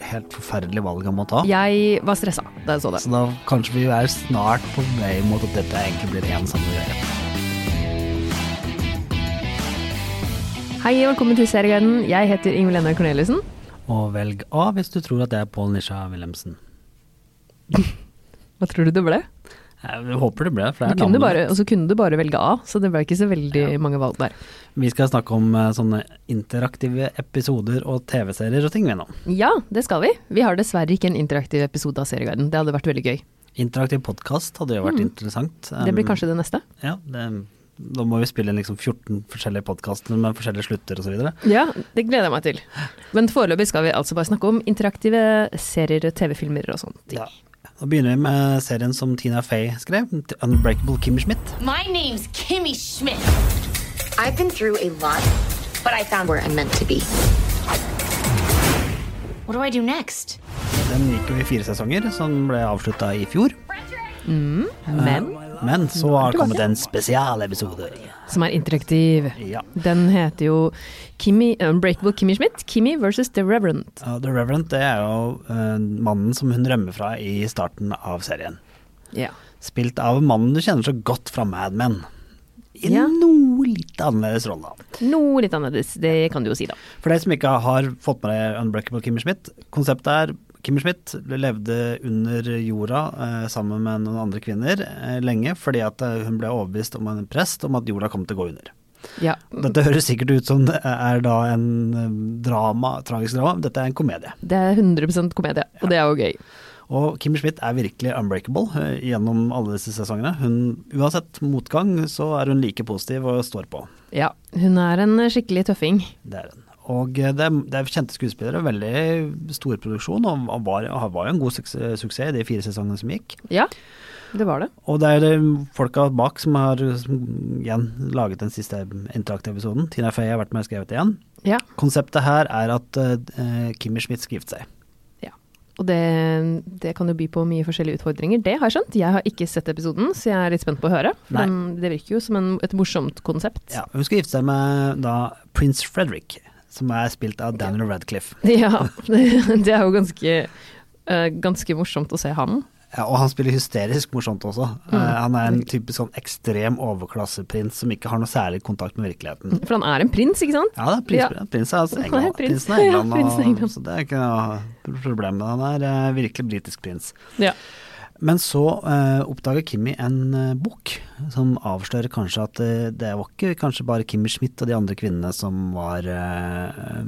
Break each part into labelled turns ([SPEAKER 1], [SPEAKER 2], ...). [SPEAKER 1] helt forferdelig valg han må ta.
[SPEAKER 2] Jeg var stressa da jeg så det.
[SPEAKER 1] Så da kanskje vi er snart på vei mot at dette egentlig blir én samme greie.
[SPEAKER 2] Hei og velkommen til Serieguiden. Jeg heter Ingvild Enne Corneliussen.
[SPEAKER 1] Og velg A hvis du tror at det er Pål Nisha Wilhelmsen.
[SPEAKER 2] Hva tror du det ble?
[SPEAKER 1] Jeg håper det ble det, for
[SPEAKER 2] Du
[SPEAKER 1] det er
[SPEAKER 2] kunne
[SPEAKER 1] navnet.
[SPEAKER 2] bare, og så kunne du bare velge A, så det ble ikke så veldig mange valg der.
[SPEAKER 1] Vi skal snakke om eh, sånne interaktive episoder og TV-serier og ting vi nå.
[SPEAKER 2] Ja, det skal vi. Vi har dessverre ikke en interaktiv episode av Serieguiden. Det hadde vært veldig gøy.
[SPEAKER 1] Interaktiv podkast hadde jo vært interessant.
[SPEAKER 2] Mm. Det blir
[SPEAKER 1] Um,
[SPEAKER 2] kanskje det neste.
[SPEAKER 1] Ja, det, da må vi spille inn liksom 14 forskjellige podkaster med forskjellige slutter og så videre.
[SPEAKER 2] Ja, det gleder jeg meg til. Men foreløpig skal vi altså bare snakke om interaktive serier, TV-filmer og sånt.
[SPEAKER 1] Ja. Da begynner vi med serien som Tina Fey skrev, 'Unbreakable Kimmy Schmidt'.
[SPEAKER 3] My name's Kimmy Schmidt.
[SPEAKER 4] I've been through a lot, but I found where I'm meant to be.
[SPEAKER 3] What do I do next?
[SPEAKER 1] Den gikk jo i fire sesonger, som ble avslutta i fjor.
[SPEAKER 2] Men
[SPEAKER 1] Men så har det kommet en spesialepisode.
[SPEAKER 2] som er interaktiv.
[SPEAKER 1] Ja.
[SPEAKER 2] Den heter jo Kimmy, eh, Unbreakable Kimmy Schmidt. Kimmy versus The Reverend.
[SPEAKER 1] Ja, The Reverend det er jo eh, mannen som hun rømmer fra i starten av serien.
[SPEAKER 2] Ja.
[SPEAKER 1] Spilt av mannen du kjenner så godt fra Mad Men. I
[SPEAKER 2] Ja.
[SPEAKER 1] noe litt annerledes rolle.
[SPEAKER 2] Noe litt annerledes, det kan du jo si, da.
[SPEAKER 1] For deg som ikke har fått med deg Unbreakable Kimmer Schmidt, konseptet er Kimmer Schmidt levde under jorda eh, sammen med noen andre kvinner eh, lenge fordi at eh, hun ble overbevist om en prest om at jorda kom til å gå under.
[SPEAKER 2] Ja.
[SPEAKER 1] Dette høres sikkert ut som det er da en eh, drama, tragisk drama, dette er en komedie.
[SPEAKER 2] Det er 100 komedie, og det er jo gøy.
[SPEAKER 1] Og Kimmer Schmidt er virkelig unbreakable eh, gjennom alle disse sesongene. Hun, uansett motgang så er hun like positiv og står på.
[SPEAKER 2] Ja, hun er en skikkelig tøffing.
[SPEAKER 1] Det er hun. Og eh, det er, det er kjente skuespillere, veldig stor produksjon, og og var, og var jo en god suksess, suksess i de fire sesongene som gikk.
[SPEAKER 2] Ja, det var det.
[SPEAKER 1] Og det er det folka bak som har som, igjen laget den siste interaktive episoden. Tina Fey har vært med og skrevet igjen.
[SPEAKER 2] Ja,
[SPEAKER 1] Konseptet her er at eh, Kimmy Schmidt skal gifte seg.
[SPEAKER 2] ja. Og det, det kan jo by på mye forskjellige utfordringer, det har jeg skjønt. Jeg har ikke sett episoden, så jeg er litt spent på å høre. For
[SPEAKER 1] Nei.
[SPEAKER 2] den, det virker jo som en, et morsomt konsept.
[SPEAKER 1] Ja, hun skal gifte seg med da prins Frederick, som er spilt av Daniel Radcliffe.
[SPEAKER 2] Ja, det er jo ganske, eh, ganske morsomt å se han.
[SPEAKER 1] Ja, og han spiller hysterisk morsomt også.
[SPEAKER 2] Mm.
[SPEAKER 1] Eh, han er en typisk sånn ekstrem overklasseprins som ikke har noe særlig kontakt med virkeligheten.
[SPEAKER 2] For han er en prins, ikke sant?
[SPEAKER 1] Ja, det er prins,
[SPEAKER 2] Mm. Ja.
[SPEAKER 1] prins er altså
[SPEAKER 2] Han er
[SPEAKER 1] England.
[SPEAKER 2] prins.
[SPEAKER 1] Prinsen er England,
[SPEAKER 2] Ja, prinsen er
[SPEAKER 1] og,
[SPEAKER 2] England.
[SPEAKER 1] så det er ikke noe problem. med det. Han er eh, virkelig britisk prins.
[SPEAKER 2] Ja.
[SPEAKER 1] Men så eh, oppdager Kimmy en eh, bok som avslører kanskje at eh, det var ikke kanskje bare Kimmy Schmidt og de andre kvinnene som var eh,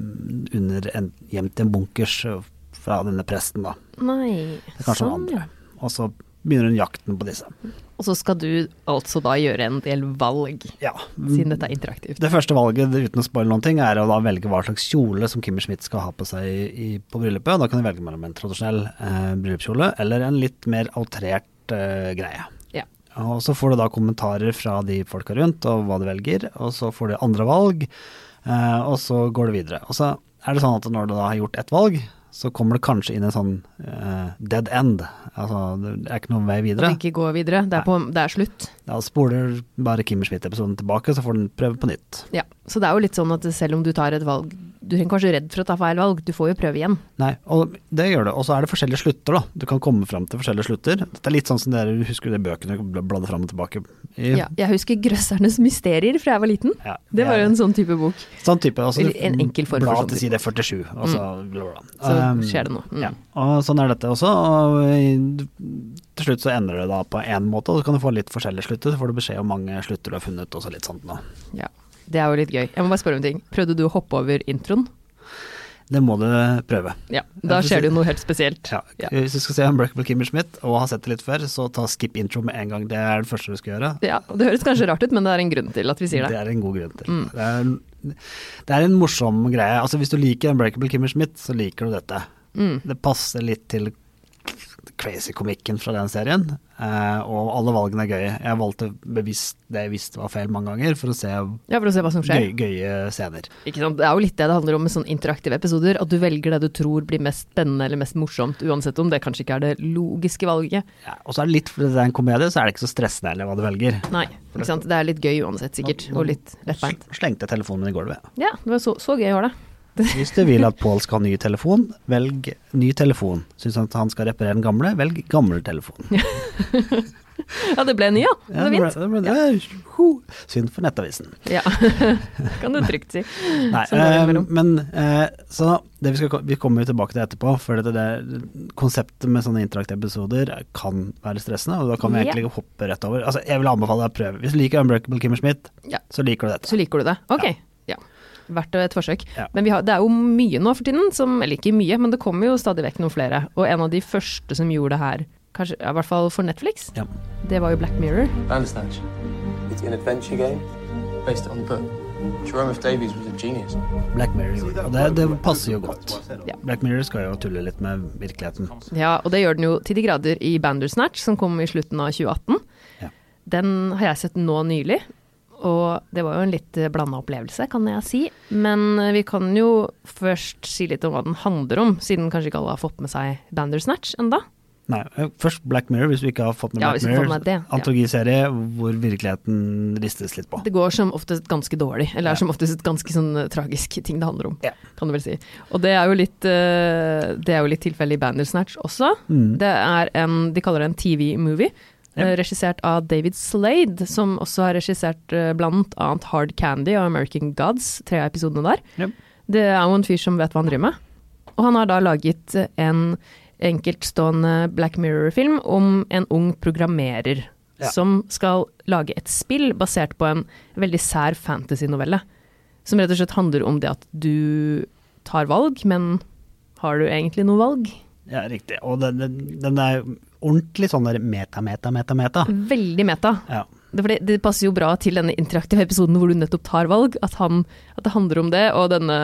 [SPEAKER 1] under en, gjemt i en bunkers eh, fra denne presten, da.
[SPEAKER 2] Nei,
[SPEAKER 1] Det er kanskje noen andre. Og så begynner hun jakten på disse.
[SPEAKER 2] sånn, Og så skal du altså da gjøre en del valg,
[SPEAKER 1] Ja,
[SPEAKER 2] siden dette er interaktivt.
[SPEAKER 1] Det første valget, det- uten å spoile noen ting, er å da velge hva slags kjole som Kimmy Schmidt skal ha på seg i, på bryllupet. Da kan du velge mellom en tradisjonell eh, bryllupskjole eller en litt mer outrert eh, greie.
[SPEAKER 2] Ja.
[SPEAKER 1] Og så får du da kommentarer fra de folka rundt, og hva du velger. Og så får du andre valg, eh, og så går det videre. Og så er det sånn at når du da har gjort ett valg, så kommer det kanskje inn en sånn eh, dead end. Altså det er ikke noen vei
[SPEAKER 2] At
[SPEAKER 1] videre.
[SPEAKER 2] det ikke går videre. Det er, på, det er slutt.
[SPEAKER 1] Da spoler bare Kimmy Schmidt-episoden tilbake, så får den prøve på nytt.
[SPEAKER 2] Ja. Så det er jo litt sånn at selv om du tar et valg Du trenger kanskje redd for å ta feil valg, du får jo prøve igjen.
[SPEAKER 1] Nei, og det gjør det. Og så er det forskjellige slutter, da. Du kan komme fram til forskjellige slutter. Dette er litt sånn som dere husker de bøkene du bladde fram og tilbake i.
[SPEAKER 2] Ja. Jeg husker 'Grøssernes mysterier' fra jeg var liten.
[SPEAKER 1] Ja.
[SPEAKER 2] Det var jo en sånn type bok.
[SPEAKER 1] Sånn type. Altså,
[SPEAKER 2] Eller en enkel form for
[SPEAKER 1] blad
[SPEAKER 2] sånn
[SPEAKER 1] til side 47, og så bla, bla.
[SPEAKER 2] Så
[SPEAKER 1] Um,
[SPEAKER 2] skjer det noe. Mm.
[SPEAKER 1] Ja. Og sånn er dette også. Og i- til slutt så endrer det da på én måte, og så kan du få litt forskjellige slutter. Så får du beskjed om mange slutter du har funnet, og så litt sånt nå.
[SPEAKER 2] Ja. Det er jo litt gøy. Jeg må bare spørre om en ting. Prøvde du å hoppe over introen?
[SPEAKER 1] Det må du prøve.
[SPEAKER 2] Ja. Da
[SPEAKER 1] Jeg får
[SPEAKER 2] skjer det
[SPEAKER 1] si-
[SPEAKER 2] jo noe helt spesielt.
[SPEAKER 1] Ja.
[SPEAKER 2] Ja.
[SPEAKER 1] Hvis du skal se Unbreakable Kimmer Smith og har sett det litt før, så ta skip intro med en gang. Det er det første du skal gjøre.
[SPEAKER 2] Ja, Det høres kanskje rart ut, men det er en grunn til at vi
[SPEAKER 1] Det
[SPEAKER 2] sier det.
[SPEAKER 1] er en god grunn til. Det, er en, det er en morsom greie. Altså Hvis du liker Unbreakable Kimmer Schmidt, så liker du dette.
[SPEAKER 2] Mm.
[SPEAKER 1] Det passer litt til crazy-komikken fra den serien, eh, og alle valgene er gøye. Jeg valgte bevisst det jeg visste var feil mange ganger, for å se
[SPEAKER 2] Ja, For å se hva som
[SPEAKER 1] gøy,
[SPEAKER 2] skjer.
[SPEAKER 1] gøye scener.
[SPEAKER 2] Ikke sant? Det er jo litt det det handler om med sånne interaktive episoder. At du velger det du tror blir mest spennende eller mest morsomt, uansett om det kanskje ikke er det logiske valget.
[SPEAKER 1] Ja, og så er det litt, fordi det er en komedie, så er det ikke så stressende heller hva du velger.
[SPEAKER 2] Nei, ikke sant. Det er litt gøy uansett, sikkert. Og litt lettbeint.
[SPEAKER 1] Slengte telefonen min i gulvet.
[SPEAKER 2] Ja, det var så, så gøy å gjøre det.
[SPEAKER 1] Hvis du vil at Pål skal ha ny telefon, velg ny telefon. Syns han at han skal reparere den gamle, velg gammel telefon.
[SPEAKER 2] Ja, det ble en ny, ja. Det
[SPEAKER 1] Ja,
[SPEAKER 2] var
[SPEAKER 1] det ble-
[SPEAKER 2] fint.
[SPEAKER 1] det ble- eh, ho. Synd for Nettavisen.
[SPEAKER 2] Ja, kan du trygt si.
[SPEAKER 1] Nei,
[SPEAKER 2] Som går
[SPEAKER 1] eh,
[SPEAKER 2] imellom.
[SPEAKER 1] men eh, så det vi, skal, ko- vi kommer jo tilbake til etterpå, for det der, konseptet med sånne interaktive episoder kan være stressende, og da kan vi
[SPEAKER 2] Ja.
[SPEAKER 1] egentlig hoppe rett over. Altså, jeg vil anbefale deg å prøve. Hvis du liker Unbreakable Kimmer Smith,
[SPEAKER 2] Ja.
[SPEAKER 1] så liker du dette.
[SPEAKER 2] Så liker du det. Ok. Ja. Verdt et forsøk.
[SPEAKER 1] Ja.
[SPEAKER 2] Men vi har, det er jo mye nå for tiden, som, eller ikke mye, men det kommer jo stadig vekk noen flere. Og en av de første som gjorde det her, kanskje, ja, i hvert fall for Netflix,
[SPEAKER 1] Ja.
[SPEAKER 2] det var jo Black Mirror.
[SPEAKER 5] Bandersnatch. It's an adventure game based on a book. Jerome F. Davies was a genius.
[SPEAKER 1] Black Mirror gjorde det, og det, det passer jo godt.
[SPEAKER 2] Ja.
[SPEAKER 1] Black Mirror skal jo tulle litt med virkeligheten.
[SPEAKER 2] Ja, og det gjør den jo til de grader i Bandersnatch, som kom i slutten av 2018.
[SPEAKER 1] Ja.
[SPEAKER 2] Den har jeg sett nå nylig, og det var jo en litt blanda opplevelse, kan jeg si. Men eh, vi kan jo først si litt om hva den handler om, siden kanskje ikke alle har fått med seg Bandersnatch enda.
[SPEAKER 1] Nei, eh, først Black Mirror, hvis du ikke har fått med
[SPEAKER 2] Ja, hvis
[SPEAKER 1] Black
[SPEAKER 2] du får
[SPEAKER 1] Mirror.
[SPEAKER 2] med det, ja.
[SPEAKER 1] Antologiserie hvor virkeligheten ristes litt på.
[SPEAKER 2] Det går som oftest ganske dårlig, eller er som oftest et ganske sånn eh, tragisk ting det handler om,
[SPEAKER 1] Ja.
[SPEAKER 2] kan du vel si. Og det er jo litt, eh, det er jo litt tilfellet i Bandersnatch også.
[SPEAKER 1] Mm.
[SPEAKER 2] Det er en, de kaller det en TV-movie, eh, regissert av David Slade, som også har regissert eh, blant annet Hard Candy og American Gods, tre av episodene der.
[SPEAKER 1] Ja.
[SPEAKER 2] Det er jo en fyr som vet hva han driver med. Og han har da laget en enkeltstående Black Mirror-film om en ung programmerer
[SPEAKER 1] Ja.
[SPEAKER 2] som skal lage et spill basert på en veldig sær fantasy-novelle. Som rett og slett handler om det at du tar valg, men har du egentlig noe valg?
[SPEAKER 1] Ja, riktig. Og den, den, den er ordentlig sånn der meta, meta, meta, meta.
[SPEAKER 2] Mm. Veldig meta.
[SPEAKER 1] Ja.
[SPEAKER 2] Det, for det, det passer jo bra til denne interaktive episoden hvor du nettopp tar valg, at, han, at det handler om det. Og denne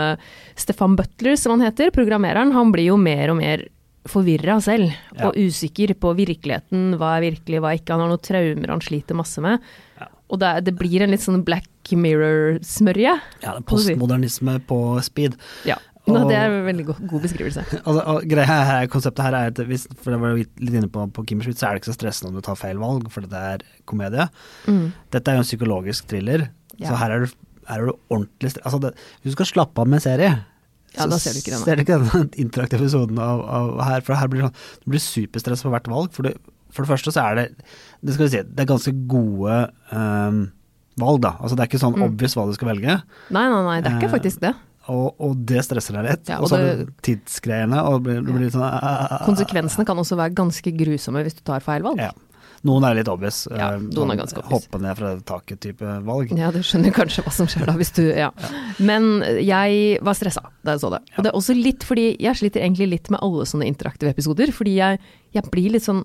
[SPEAKER 2] Stefan Butler, som han heter, programmereren, han blir jo mer og mer forvirra selv.
[SPEAKER 1] Ja.
[SPEAKER 2] Og usikker på virkeligheten, hva er virkelig, hva ikke. Han har noen traumer han sliter masse med. Og det, er- det blir en litt sånn Black Mirror-smørje.
[SPEAKER 1] Ja, det er postmodernisme på speed.
[SPEAKER 2] Ja. Nå,
[SPEAKER 1] Og-
[SPEAKER 2] det er en veldig god, god beskrivelse.
[SPEAKER 1] Altså, og greia her, konseptet her er at hvis, for det var jo litt inne på, på Kimmersmith, så er det ikke så stressende om du tar feil valg, for det er komedie.
[SPEAKER 2] Mm.
[SPEAKER 1] Dette er jo en psykologisk thriller,
[SPEAKER 2] Ja.
[SPEAKER 1] så her er du, her er du ordentlig stre- Altså, det, hvis du skal slappe av med en serie,
[SPEAKER 2] Ja, da ser du ikke denne.
[SPEAKER 1] ser du ikke denne interaktive episoden av, av her, for her blir det sånn, du blir superstress for hvert valg. For, du, for det første så er det, det skal vi si, det er ganske gode ehm, valg, da. Altså det er ikke
[SPEAKER 2] Mm.
[SPEAKER 1] sånn obvious hva du skal velge.
[SPEAKER 2] Nei, nei, nei, det er ikke
[SPEAKER 1] Eh,
[SPEAKER 2] faktisk det.
[SPEAKER 1] Og, og det stresser deg litt.
[SPEAKER 2] Ja,
[SPEAKER 1] og
[SPEAKER 2] og
[SPEAKER 1] så er
[SPEAKER 2] det-
[SPEAKER 1] det tidsgreiene, og det blir, det blir litt sånn eh,
[SPEAKER 2] Konsekvensene kan også være ganske grusomme hvis du tar feil valg.
[SPEAKER 1] Ja. Noen er litt obvious.
[SPEAKER 2] Ja,
[SPEAKER 1] eh,
[SPEAKER 2] noen er
[SPEAKER 1] sånn
[SPEAKER 2] ganske obvious.
[SPEAKER 1] Hoppe ned fra taket-type valg.
[SPEAKER 2] Ja, du skjønner kanskje hva som skjer da, hvis du Ja. Men jeg var stressa da jeg så det. Og det er også litt fordi jeg sliter egentlig litt med alle sånne interaktive episoder. Fordi jeg, jeg blir litt sånn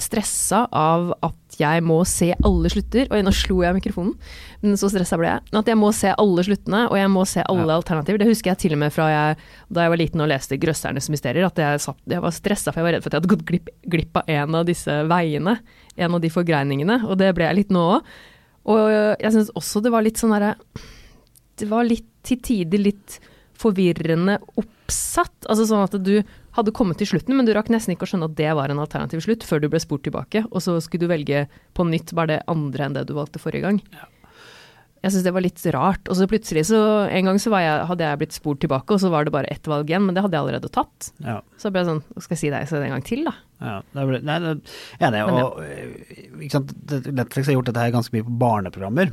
[SPEAKER 2] stressa av at jeg må se alle slutter. Oi, nå slo jeg mikrofonen, men så stressa ble jeg. At jeg må se alle sluttene, og jeg må se alle alternativer. Det husker jeg til og med fra jeg, da jeg var liten og leste 'Grøssernes mysterier', at jeg, satt, jeg var stressa for jeg var redd for at jeg hadde gått glipp, glipp av en av disse veiene. En av de forgreiningene. Og det ble jeg litt nå òg. Og jeg syns også det var litt sånn derre det var litt til tider litt forvirrende oppsatt. Altså sånn at du hadde kommet til slutten, men du rakk nesten ikke å skjønne at det var en alternativ slutt før du ble spurt tilbake, og så skulle du velge på nytt bare det andre enn det du valgte forrige gang. Jeg syns det var litt rart. Og så plutselig, så en gang så var jeg, hadde jeg blitt spurt tilbake, og så var det bare ett valg igjen, men det hadde jeg allerede tatt.
[SPEAKER 1] Ja.
[SPEAKER 2] Så ble jeg sånn, skal jeg si deg så en gang til, da?
[SPEAKER 1] ja. Det blir, nei, det, enig.
[SPEAKER 2] Men ja.
[SPEAKER 1] Og, eh, ikke sant? det- Netflix har gjort dette her ganske mye på barneprogrammer.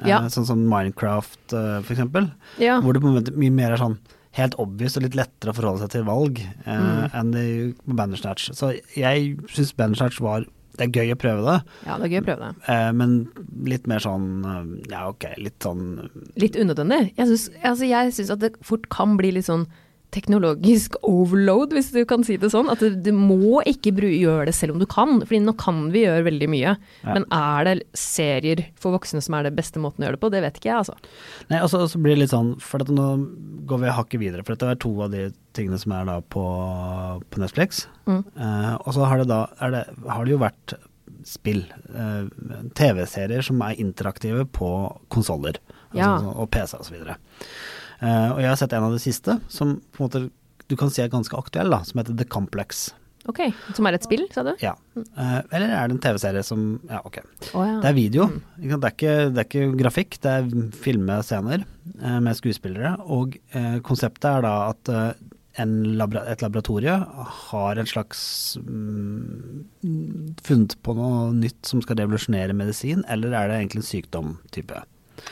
[SPEAKER 1] eh,
[SPEAKER 2] Ja.
[SPEAKER 1] Sånn som Minecraft, eh, for eksempel.
[SPEAKER 2] Ja.
[SPEAKER 1] Hvor det på en måte mye mer er sånn helt obvious og litt lettere å forholde seg til valg eh,
[SPEAKER 2] Mm.
[SPEAKER 1] enn det på Bandersnatch. Så jeg syns Bandersnatch var Det er gøy å prøve det,
[SPEAKER 2] Ja, det er gøy å prøve det.
[SPEAKER 1] eh, men litt mer sånn eh, Ja, ok, litt sånn
[SPEAKER 2] litt unødvendig. Jeg syns altså jeg syns at det fort kan bli litt sånn teknologisk overload, hvis du kan si det sånn. At du, du må ikke bru- gjøre det selv om du kan, fordi nå kan vi gjøre veldig mye. Men er det serier for voksne som er det beste måten å gjøre det på? Det vet ikke jeg, altså.
[SPEAKER 1] Nei, og så og så blir det litt sånn, for dette, nå går vi hakket videre, for dette er to av de tingene som er da på, på Netflix. Eh, og så har det da er det, har det jo vært spill, eh, TV-serier som er interaktive på konsoller
[SPEAKER 2] Ja.
[SPEAKER 1] altså, sånn- og PC og så videre. Eh, og jeg har sett en av de siste som på en måte du kan si er ganske aktuell, da, som heter The Complex.
[SPEAKER 2] Ok, Som er et spill, sa du?
[SPEAKER 1] Ja. Eh, eller er det en TV-serie som Ja, ok.
[SPEAKER 2] Å, ja.
[SPEAKER 1] Det er video. Ikke sant? Det, er ikke, det er ikke grafikk, det er filme scener eh, med skuespillere. Og eh, konseptet er da at eh, en labra et laboratorie har en slags mm, funnet på noe nytt som skal revolusjonere medisin, eller er det egentlig en sykdom-type?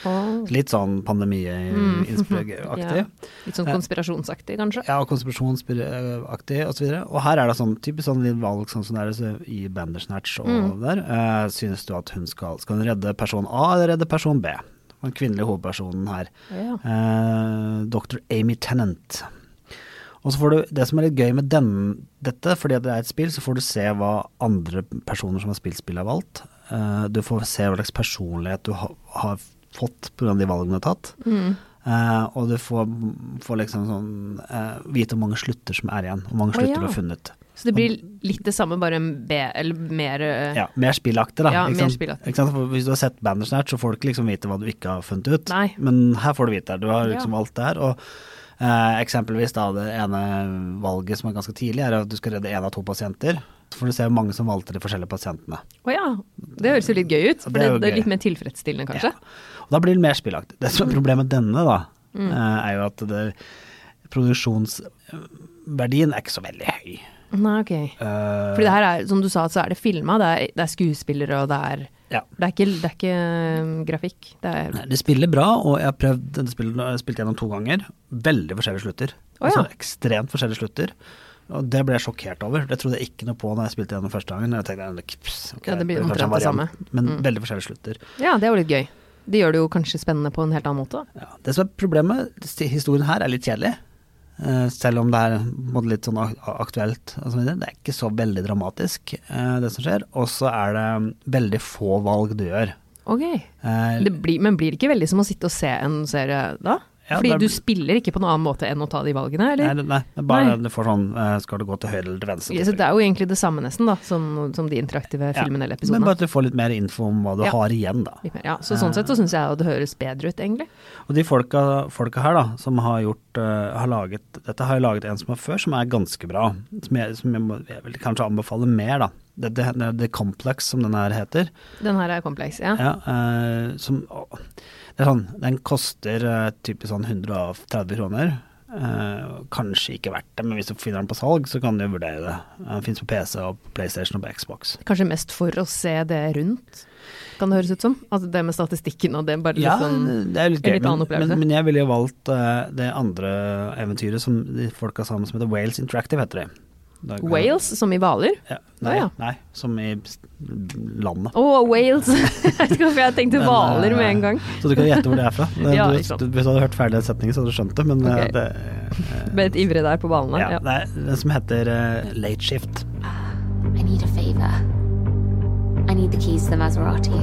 [SPEAKER 2] Å,
[SPEAKER 1] Litt sånn pandemi-aktig.
[SPEAKER 2] ja. Litt sånn konspirasjonsaktig, kanskje?
[SPEAKER 1] Ja, og konspirasjonsaktig osv. Og her er det sånn typisk sånn litt valg sånn som det er så i Bandersnatch og der. Eh, synes du at hun skal Skal hun redde person A eller redde person B? Den kvinnelige hovedpersonen her.
[SPEAKER 2] Ja.
[SPEAKER 1] Eh, Dr. Amy Tennant. Og så får du Det som er litt gøy med den, dette, fordi at det er et spill, så får du se hva andre personer som har spilt spillet, har valgt. Eh, du får se hva slags personlighet du ha, har fått pga. de valgene du har tatt.
[SPEAKER 2] Mm.
[SPEAKER 1] Eh, og du får, får liksom sånn eh, vite hvor mange slutter som er igjen, og hvor mange
[SPEAKER 2] Å,
[SPEAKER 1] slutter
[SPEAKER 2] ja.
[SPEAKER 1] du har funnet.
[SPEAKER 2] Så det blir litt det samme, bare en B, eller mer eh,
[SPEAKER 1] Ja, Mer spillaktig, da.
[SPEAKER 2] Ja,
[SPEAKER 1] ikke
[SPEAKER 2] mer
[SPEAKER 1] sant?
[SPEAKER 2] spillaktig.
[SPEAKER 1] Ikke sant? For hvis du har sett Bandersnatch, så får du ikke liksom vite hva du ikke har funnet ut.
[SPEAKER 2] Nei.
[SPEAKER 1] Men her får du vite det. Du har liksom
[SPEAKER 2] Ja.
[SPEAKER 1] valgt det her. Og eh, eksempelvis da det ene valget som er ganske tidlig, er at du skal redde én av to pasienter. Så får du se hvor mange som valgte de forskjellige pasientene.
[SPEAKER 2] Å ja. Det høres jo litt gøy ut.
[SPEAKER 1] Ja,
[SPEAKER 2] For
[SPEAKER 1] det
[SPEAKER 2] det
[SPEAKER 1] er
[SPEAKER 2] er,
[SPEAKER 1] jo
[SPEAKER 2] det er
[SPEAKER 1] gøy.
[SPEAKER 2] litt mer tilfredsstillende, kanskje.
[SPEAKER 1] Og da blir det mer spillaktig. Det som er problemet med denne, da,
[SPEAKER 2] Mm.
[SPEAKER 1] eh, er jo at det, produksjonsverdien er ikke så veldig høy.
[SPEAKER 2] Nei, ok.
[SPEAKER 1] Eh,
[SPEAKER 2] Fordi det her er, som du sa, så er det filma, det, er- det er skuespillere og det er
[SPEAKER 1] ja.
[SPEAKER 2] Det er ikke, det er ikke um, grafikk. Det er
[SPEAKER 1] Nei, Det spiller bra, og jeg har prøvd denne spillet, jeg har spilt gjennom to ganger. Veldig forskjellige slutter.
[SPEAKER 2] Å, ja.
[SPEAKER 1] Altså ekstremt forskjellige slutter. Og det ble jeg sjokkert over. Det trodde jeg ikke noe på når jeg spilte gjennom første gangen. Jeg tenkte, "Ja, det- pss, ok,
[SPEAKER 2] Ja, det blir
[SPEAKER 1] kanskje en
[SPEAKER 2] omtrent det
[SPEAKER 1] variant."
[SPEAKER 2] samme. Mm.
[SPEAKER 1] Men veldig forskjellige slutter.
[SPEAKER 2] Ja, det er jo litt gøy. Det gjør det jo kanskje spennende på en helt annen måte. da.
[SPEAKER 1] Ja. Det som er problemet, sti- historien her er litt kjedelig. Eh, Selv om det er på en måte, litt sånn ak- aktuelt og så videre. Det er ikke så veldig dramatisk, eh, det som skjer. Og så er det mm, veldig få valg du gjør.
[SPEAKER 2] Ok.
[SPEAKER 1] Eh,
[SPEAKER 2] Det blir, men blir det ikke veldig som å sitte og se en serie da?
[SPEAKER 1] Ja,
[SPEAKER 2] Fordi
[SPEAKER 1] det er-
[SPEAKER 2] du spiller ikke på noen annen måte enn å ta de valgene,
[SPEAKER 1] Nei,
[SPEAKER 2] eller?
[SPEAKER 1] det- nei, det er bare
[SPEAKER 2] Nei.
[SPEAKER 1] du får sånn eh, Skal du gå til høyre eller til venstre?
[SPEAKER 2] Ja, så det er jo egentlig det samme nesten da, som, som de interaktive
[SPEAKER 1] Ja,
[SPEAKER 2] filmene eller
[SPEAKER 1] Men
[SPEAKER 2] episodene.
[SPEAKER 1] bare at du får litt mer info om hva du
[SPEAKER 2] Ja.
[SPEAKER 1] har igjen, da.
[SPEAKER 2] Litt mer, Ja, så sånn sett så syns jeg jo det høres bedre ut, egentlig.
[SPEAKER 1] Og de folka, folka her, da, som har gjort eh, har laget, Dette har jo laget en som er før, som er ganske bra. Som jeg, som jeg, må, jeg vil kanskje anbefale mer, da. Det, det, det, det Complex, som den her heter.
[SPEAKER 2] Den her er kompleks, ja.
[SPEAKER 1] Ja, eh, som å, Det er sånn, den koster uh, typisk sånn 130 kroner. Eh, kanskje ikke verdt det, men hvis du finner den på salg, så kan du vurdere det. Eh, Den fins på PC og på PlayStation og på Xbox.
[SPEAKER 2] Kanskje mest for å se det rundt, kan det høres ut som. Altså det med statistikken og det bare litt
[SPEAKER 1] Ja,
[SPEAKER 2] sånn
[SPEAKER 1] det er jo litt
[SPEAKER 2] en
[SPEAKER 1] gøy,
[SPEAKER 2] litt annen
[SPEAKER 1] men, men,
[SPEAKER 2] opplevelse.
[SPEAKER 1] men jeg ville jo valgt eh, det andre eventyret som de folka sammen som heter Wales Interactive, heter de. Da kan-
[SPEAKER 2] Wales, som i hvaler.
[SPEAKER 1] Ja, nei,
[SPEAKER 2] Å, ja.
[SPEAKER 1] nei, som i s- landet.
[SPEAKER 2] Å, Wales! jeg vet ikke hvorfor jeg tenkte
[SPEAKER 1] Men,
[SPEAKER 2] hvaler
[SPEAKER 1] eh,
[SPEAKER 2] med en gang.
[SPEAKER 1] Så du kan gjette hvor det er fra. Det-
[SPEAKER 2] Ja,
[SPEAKER 1] du,
[SPEAKER 2] ikke sant.
[SPEAKER 1] du, hvis du hadde hørt ferdig den setningen, så hadde du skjønt det, men eh,
[SPEAKER 2] Ok.
[SPEAKER 1] det
[SPEAKER 2] Ble litt ivrig der på ballene.
[SPEAKER 1] ja,
[SPEAKER 2] Ja.
[SPEAKER 1] Det er det som heter eh, Late Shift.
[SPEAKER 4] I need a favor. I need the keys to the Maserati.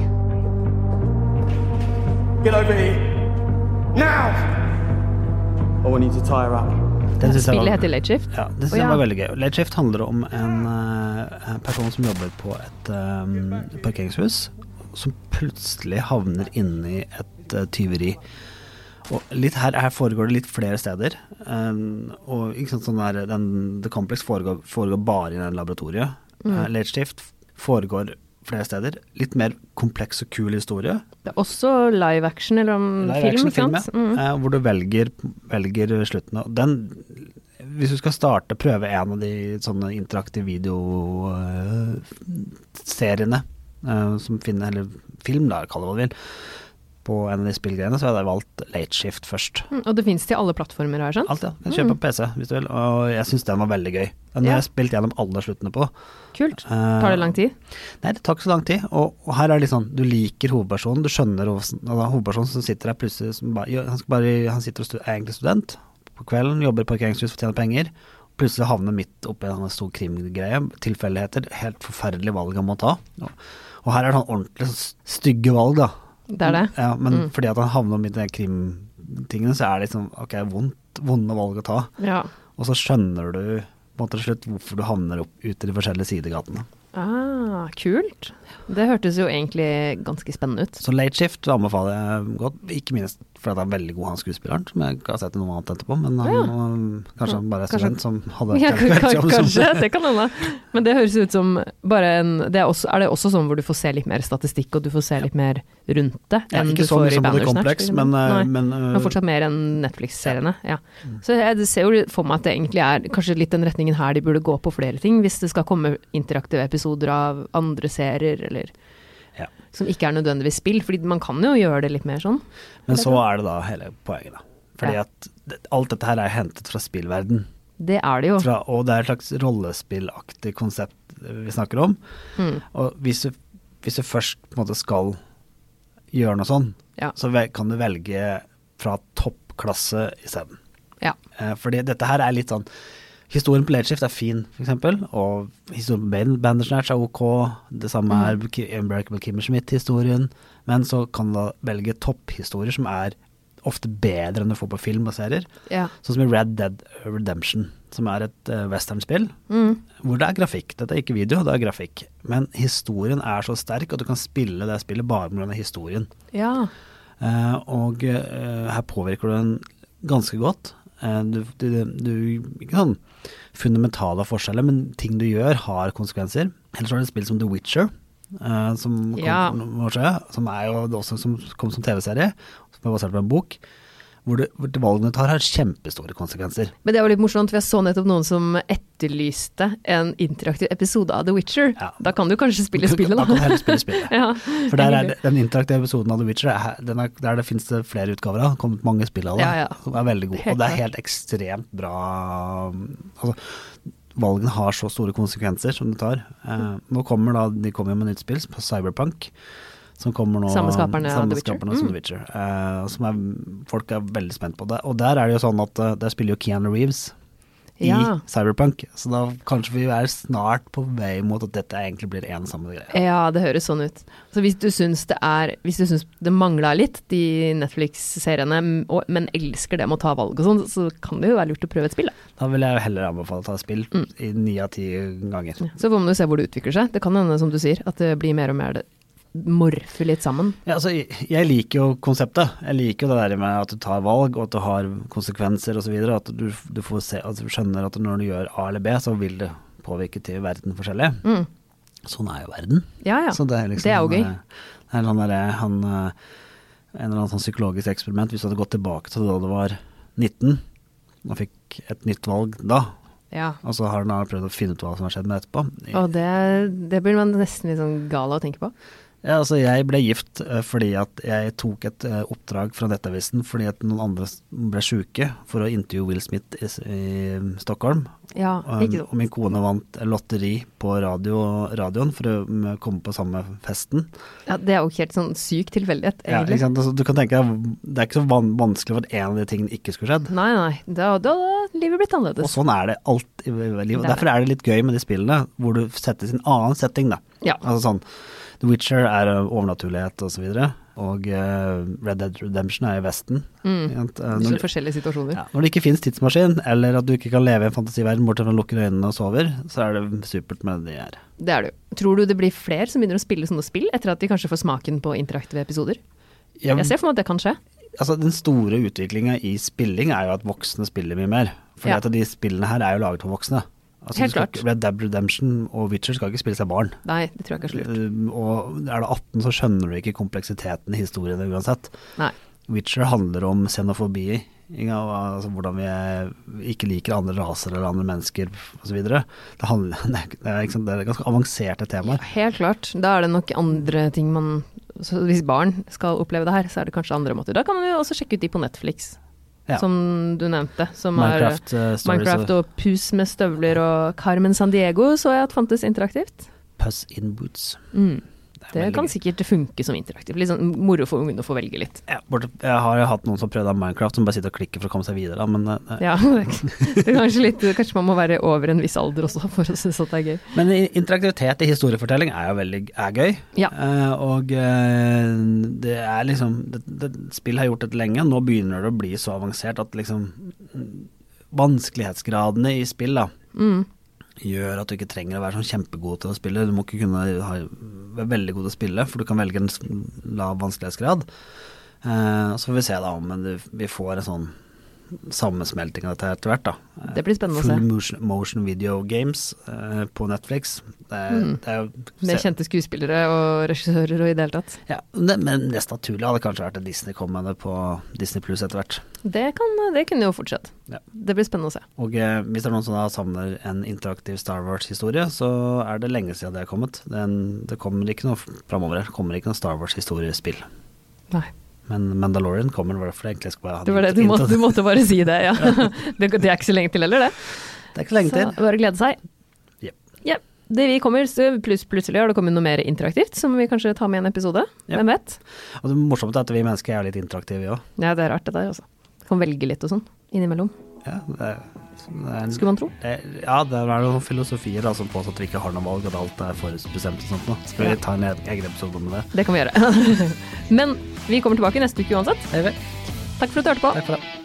[SPEAKER 5] Get over here. Now! Oh, I need to tie her up.
[SPEAKER 1] Den synes jeg var-
[SPEAKER 2] Spillet heter Late Shift.
[SPEAKER 1] Ja, det synes
[SPEAKER 2] Å,
[SPEAKER 1] jeg
[SPEAKER 2] ja.
[SPEAKER 1] var veldig gøy. Late Shift handler om en eh, en person som jobber på et eh, parkeringshus, som plutselig havner inni et eh, tyveri. Og litt her, her foregår det litt flere steder. eh, og ikke sant, sånn der, den, The Complex foregår, foregår bare i den laboratoriet.
[SPEAKER 2] Mm.
[SPEAKER 1] Eh, Late Shift foregår flere steder. Litt mer kompleks og kul historie.
[SPEAKER 2] Det er også live action eller om
[SPEAKER 1] Live
[SPEAKER 2] film, ikke
[SPEAKER 1] action-film,
[SPEAKER 2] sant?
[SPEAKER 1] ja.
[SPEAKER 2] Mm.
[SPEAKER 1] Eh, hvor du velger, velger slutten. Og den, hvis du skal starte, prøve en av de sånne interaktive videoseriene eh, som finner, eller film da, kall det hva du vil, på en av de spillgreiene, så hadde jeg valgt Late Shift først.
[SPEAKER 2] Mm, Og det finnes til alle plattformer, har jeg skjønt.
[SPEAKER 1] Alt, ja. Kan kjøpe på PC hvis du vil. Og jeg syns den var veldig gøy. Den
[SPEAKER 2] Mm. Ja.
[SPEAKER 1] har jeg spilt gjennom alle sluttene på.
[SPEAKER 2] Kult.
[SPEAKER 1] eh,
[SPEAKER 2] Tar det lang tid?
[SPEAKER 1] Nei, det tar ikke så lang tid. Og, og her er det litt sånn, du liker hovedpersonen, du skjønner hvordan altså, Hovedpersonen som sitter der plutselig som bare, ja, han, skal bare, han sitter og stu, er egentlig student. På kvelden jobber i parkeringshus for å tjene penger. Plutselig havner midt oppi en sånn stor krimgreie. Tilfeldigheter. Helt forferdelige valg han må ta. Og, og her er det sånn ordentlig sånn stygge valg, da.
[SPEAKER 2] Det er det.
[SPEAKER 1] Ja, men fordi at han havner midt i de krimtingene, så er det liksom ok, vondt, vonde valg å ta.
[SPEAKER 2] Ja.
[SPEAKER 1] Og så skjønner du på en måte til slutt hvorfor du havner opp ut i de forskjellige sidegatene.
[SPEAKER 2] Ah, kult. Det hørtes jo egentlig ganske spennende ut.
[SPEAKER 1] Så late shift anbefaler jeg godt, ikke minst For at han er veldig god, han skuespilleren, som jeg ikke har sett i noe annet etterpå. Men han,
[SPEAKER 2] Ja.
[SPEAKER 1] um, kanskje han bare er
[SPEAKER 2] Kanskje-
[SPEAKER 1] student som hadde
[SPEAKER 2] Ja,
[SPEAKER 1] kjempejobb
[SPEAKER 2] kan-
[SPEAKER 1] som-
[SPEAKER 2] kanskje, det kan hende. Men det høres ut som bare en det er, også, er det også sånn hvor du får se litt mer statistikk, og du får se litt mer rundt det?
[SPEAKER 1] Ja,
[SPEAKER 2] enn
[SPEAKER 1] ikke
[SPEAKER 2] du
[SPEAKER 1] sånn
[SPEAKER 2] får i
[SPEAKER 1] liksom på The
[SPEAKER 2] Bandersnatch,
[SPEAKER 1] Complex,
[SPEAKER 2] for eksempel?
[SPEAKER 1] men, uh,
[SPEAKER 2] Nei.
[SPEAKER 1] men, uh,
[SPEAKER 2] Men fortsatt mer enn Netflix-seriene. Ja. Så jeg ser jo for meg at det egentlig er kanskje litt den retningen her de burde gå på flere ting, hvis det skal komme interaktive episoder av andre serier, eller
[SPEAKER 1] Ja.
[SPEAKER 2] som ikke er nødvendigvis spill. Fordi man kan jo gjøre det litt mer sånn.
[SPEAKER 1] Men så er det da hele poenget, da. Fordi
[SPEAKER 2] Ja.
[SPEAKER 1] at det- alt dette her er hentet fra spillverden.
[SPEAKER 2] Det er det jo.
[SPEAKER 1] Fra, og det er et slags rollespillaktig konsept eh, vi snakker om.
[SPEAKER 2] Hmm.
[SPEAKER 1] Og hvis du, hvis du først på en måte skal gjøre noe sånn,
[SPEAKER 2] Ja.
[SPEAKER 1] så vel- kan du velge fra toppklasse isteden.
[SPEAKER 2] Ja.
[SPEAKER 1] Eh, Fordi dette her er litt sånn Historien på Ledskift er fin, f.eks., og historien på Ban- Bandersnatch er ok. Det samme er Ki- Unbreakable Kimmer Schmidt-historien. Men så kan du da velge topphistorier som er ofte bedre enn du får på film og serier.
[SPEAKER 2] Ja.
[SPEAKER 1] Sånn som i Red Dead Redemption, som er et eh, westernspill. Hvor det er grafikk. Dette er ikke video, det er grafikk. Men historien er så sterk at du kan spille det spillet bare pga. historien.
[SPEAKER 2] ja.
[SPEAKER 1] Eh, og eh, her påvirker du den ganske godt. Eh, du, du, du Ikke sånn fundamentale forskjeller, men ting du gjør har konsekvenser. Ellers er det et spill som The Witcher, eh, som, kom,
[SPEAKER 2] Ja.
[SPEAKER 1] for noen år siden, som er jo også som kom som TV-serie, som er basert på en bok. Hvor, du, hvor valgene du tar, har kjempestore konsekvenser.
[SPEAKER 2] Men det var litt morsomt, for jeg så nettopp noen som etterlyste en interaktiv episode av The Witcher.
[SPEAKER 1] Ja.
[SPEAKER 2] Da kan du kanskje spille spillet,
[SPEAKER 1] Da kan du
[SPEAKER 2] da.
[SPEAKER 1] heller spille spillet.
[SPEAKER 2] Ja.
[SPEAKER 1] For der er det, den interaktive episoden av The Witcher, er, her- den er, der det finnes det flere utgaver av. Det har kommet mange spill av det,
[SPEAKER 2] Ja, ja.
[SPEAKER 1] som er veldig gode.
[SPEAKER 2] Helt
[SPEAKER 1] Og det
[SPEAKER 2] klart.
[SPEAKER 1] er helt ekstremt bra altså, Valgene har så store konsekvenser som det tar. Eh,
[SPEAKER 2] Mm.
[SPEAKER 1] nå kommer da, De kommer jo med nytt spill, på Cyberpunk. Som kommer nå,
[SPEAKER 2] Samme skaperne av
[SPEAKER 1] samme
[SPEAKER 2] The Witcher. Mm.
[SPEAKER 1] skaperne som The Witcher. Eh, som er, folk er veldig spent på det. Og der er det jo sånn at eh, der spiller jo Keanu Reeves i
[SPEAKER 2] Ja.
[SPEAKER 1] Cyberpunk. Så da kanskje vi er snart på vei mot at dette egentlig blir én samme greie.
[SPEAKER 2] Ja, det høres sånn ut. Så hvis du syns det er Hvis du syns det mangla litt, de Netflix-seriene, m- og- men elsker det med å ta valg og sånn, så kan det jo være lurt å prøve et spill, da.
[SPEAKER 1] Da vil jeg jo heller anbefale å ta spill i ni av ti ganger.
[SPEAKER 2] Så får man jo se hvor det utvikler seg. Det kan hende, som du sier, at det blir mer og mer det morfer litt sammen.
[SPEAKER 1] Ja, altså, jeg- jeg liker jo konseptet. Jeg liker jo det der med at du tar valg, og at du har konsekvenser osv. At du, du, får se, at du skjønner at når du gjør A eller B, så vil det påvirke til verden forskjellig. Sånn er jo verden.
[SPEAKER 2] Mm. Ja ja.
[SPEAKER 1] Så det, er liksom,
[SPEAKER 2] jo gøy.
[SPEAKER 1] eh, Det er sånn derre- han, eh, en eller annen sånn psykologisk eksperiment. Hvis du hadde gått tilbake til da du var 19 og fikk et nytt valg da,
[SPEAKER 2] Ja.
[SPEAKER 1] og så har han da prøvd å finne ut hva som har skjedd med det etterpå.
[SPEAKER 2] Og det, det blir man nesten litt sånn gal av å tenke på.
[SPEAKER 1] Ja, altså jeg ble gift eh, fordi at jeg tok et eh, oppdrag fra Nettavisen fordi at noen andre s- ble sjuke for å intervjue Will Smith i, s- i mm, Stockholm.
[SPEAKER 2] Ja,
[SPEAKER 1] Um,
[SPEAKER 2] ikke
[SPEAKER 1] og
[SPEAKER 2] sant.
[SPEAKER 1] min kone vant lotteri på radio, radioen for å mm, komme på samme festen.
[SPEAKER 2] Ja, det er jo ikke helt sånn syk tilfeldighet,
[SPEAKER 1] Ja, ikke
[SPEAKER 2] egentlig.
[SPEAKER 1] sant? Altså, du kan tenke deg, Det er ikke så van vanskelig at en av de tingene ikke skulle skjedd.
[SPEAKER 2] Nei, nei. Da da- da hadde livet blitt
[SPEAKER 1] Og
[SPEAKER 2] annerledes.
[SPEAKER 1] sånn er det alt i livet. Og
[SPEAKER 2] Det er
[SPEAKER 1] Derfor er det litt gøy med de spillene hvor du settes i en annen setting, da.
[SPEAKER 2] Ja.
[SPEAKER 1] Altså sånn The Witcher er eh, overnaturlighet og så videre. Og eh, Red Dead Redemption er i Vesten.
[SPEAKER 2] Mm.
[SPEAKER 1] ikke sant? Eh,
[SPEAKER 2] Så
[SPEAKER 1] Når,
[SPEAKER 2] forskjellige situasjoner.
[SPEAKER 1] ja, når det ikke fins tidsmaskin, eller at du ikke kan leve i en fantasiverden bortsett fra å lukke øynene og sover, så er det supert med det de her.
[SPEAKER 2] Det er det jo. Tror du det blir flere som begynner å spille sånne spill, etter at de kanskje får smaken på interaktive episoder?
[SPEAKER 1] Um,
[SPEAKER 2] Jeg ser for meg at det kan skje.
[SPEAKER 1] Altså, den store utviklinga i spilling er jo at voksne spiller mye mer. For
[SPEAKER 2] Ja.
[SPEAKER 1] at de spillene her er jo laget for voksne. Altså,
[SPEAKER 2] Helt
[SPEAKER 1] du skal
[SPEAKER 2] klart.
[SPEAKER 1] ikke- Red Dead Redemption og Witcher skal ikke spilles av barn.
[SPEAKER 2] Nei, det tror jeg ikke er så lurt.
[SPEAKER 1] Um, Og er du 18, så skjønner du ikke kompleksiteten i historiene uansett.
[SPEAKER 2] Nei.
[SPEAKER 1] Witcher handler om xenofobi, ikke? og altså hvordan vi ikke liker andre raser eller andre mennesker osv. Det, handler- det, er- det er ikke sant, det er ganske avanserte temaer.
[SPEAKER 2] Helt klart. Da er det nok andre ting man så Hvis barn skal oppleve det her, så er det kanskje andre måter. Da kan man jo også sjekke ut de på Netflix,
[SPEAKER 1] Ja.
[SPEAKER 2] som du nevnte. Som
[SPEAKER 1] Minecraft, eh,
[SPEAKER 2] er
[SPEAKER 1] Stories
[SPEAKER 2] Minecraft og Pus med støvler og Carmen San Diego så jeg at fantes interaktivt. Mm.
[SPEAKER 1] Puss in boots. er
[SPEAKER 2] Det
[SPEAKER 1] veldig
[SPEAKER 2] kan
[SPEAKER 1] gøy.
[SPEAKER 2] sikkert funke som interaktivt. Litt sånn moro for ungene å få velge litt.
[SPEAKER 1] Ja, borte- jeg har jo hatt noen som prøvde av Minecraft, som bare sitter og klikker for å komme seg videre. da, Men, eh,
[SPEAKER 2] Ja, det er kanskje litt Kanskje man må være over en viss alder også for å synes at det er gøy.
[SPEAKER 1] men i- interaktivitet i historiefortelling er jo veldig er gøy.
[SPEAKER 2] Ja.
[SPEAKER 1] Eh, og eh, det er liksom det, det, Spill har gjort dette lenge, nå begynner det å bli så avansert at liksom mm, Vanskelighetsgradene i spill da
[SPEAKER 2] Mm,
[SPEAKER 1] gjør at du ikke trenger å være sånn kjempegod til å spille. Du må ikke kunne ha, være veldig god til å spille, for du kan velge en s- lav vanskelighetsgrad. Eh, så får vi se da om det- vi får en sånn sammensmelting av dette etter hvert. da. Eh,
[SPEAKER 2] Det blir spennende å
[SPEAKER 1] Full
[SPEAKER 2] se.
[SPEAKER 1] motion, motion video games eh, på Netflix. Det, er-
[SPEAKER 2] Mm.
[SPEAKER 1] det er jo
[SPEAKER 2] Med
[SPEAKER 1] se-
[SPEAKER 2] kjente skuespillere og regissører og i det hele tatt.
[SPEAKER 1] ja, men- Men mest naturlig hadde kanskje vært at Disney kom med det på Disney Plus etter hvert.
[SPEAKER 2] Det, kan, det kunne jo fortsatt.
[SPEAKER 1] Ja.
[SPEAKER 2] Det blir spennende å se.
[SPEAKER 1] Og eh, hvis det er noen som da savner en interaktiv Star Wars-historie, så er det lenge siden det er kommet. Den, det kommer ikke noe framover her. Kommer ikke noe Star Wars-historiespill.
[SPEAKER 2] Nei,
[SPEAKER 1] Men Mandalorian kommer, det var derfor det altså. egentlig skulle være
[SPEAKER 2] det var det. Du, må, du måtte bare si det, ja. Det, det er ikke så lenge til heller, det.
[SPEAKER 1] Det er ikke så lenge
[SPEAKER 2] Så
[SPEAKER 1] til.
[SPEAKER 2] bare glede seg.
[SPEAKER 1] Jep.
[SPEAKER 2] Ja. Det vi kommer, så pluss plutselig har det kommet noe mer interaktivt som vi kanskje tar med i en episode.
[SPEAKER 1] Ja.
[SPEAKER 2] Hvem vet?
[SPEAKER 1] Og det morsomme er at vi mennesker er litt interaktive, vi òg.
[SPEAKER 2] Ja, det er rart det der, altså. Kan velge litt og sånn innimellom,
[SPEAKER 1] Ja, det er- det er en-
[SPEAKER 2] skulle man tro.
[SPEAKER 1] det er- ja, det er noen filosofier da, som påstår at vi ikke har noe valg, at alt er forutbestemt og sånt. Da. Skal vi ta en egen episode med det?
[SPEAKER 2] Det kan vi gjøre. Men vi kommer tilbake neste uke uansett. Takk for at du hørte på.
[SPEAKER 1] Takk for det.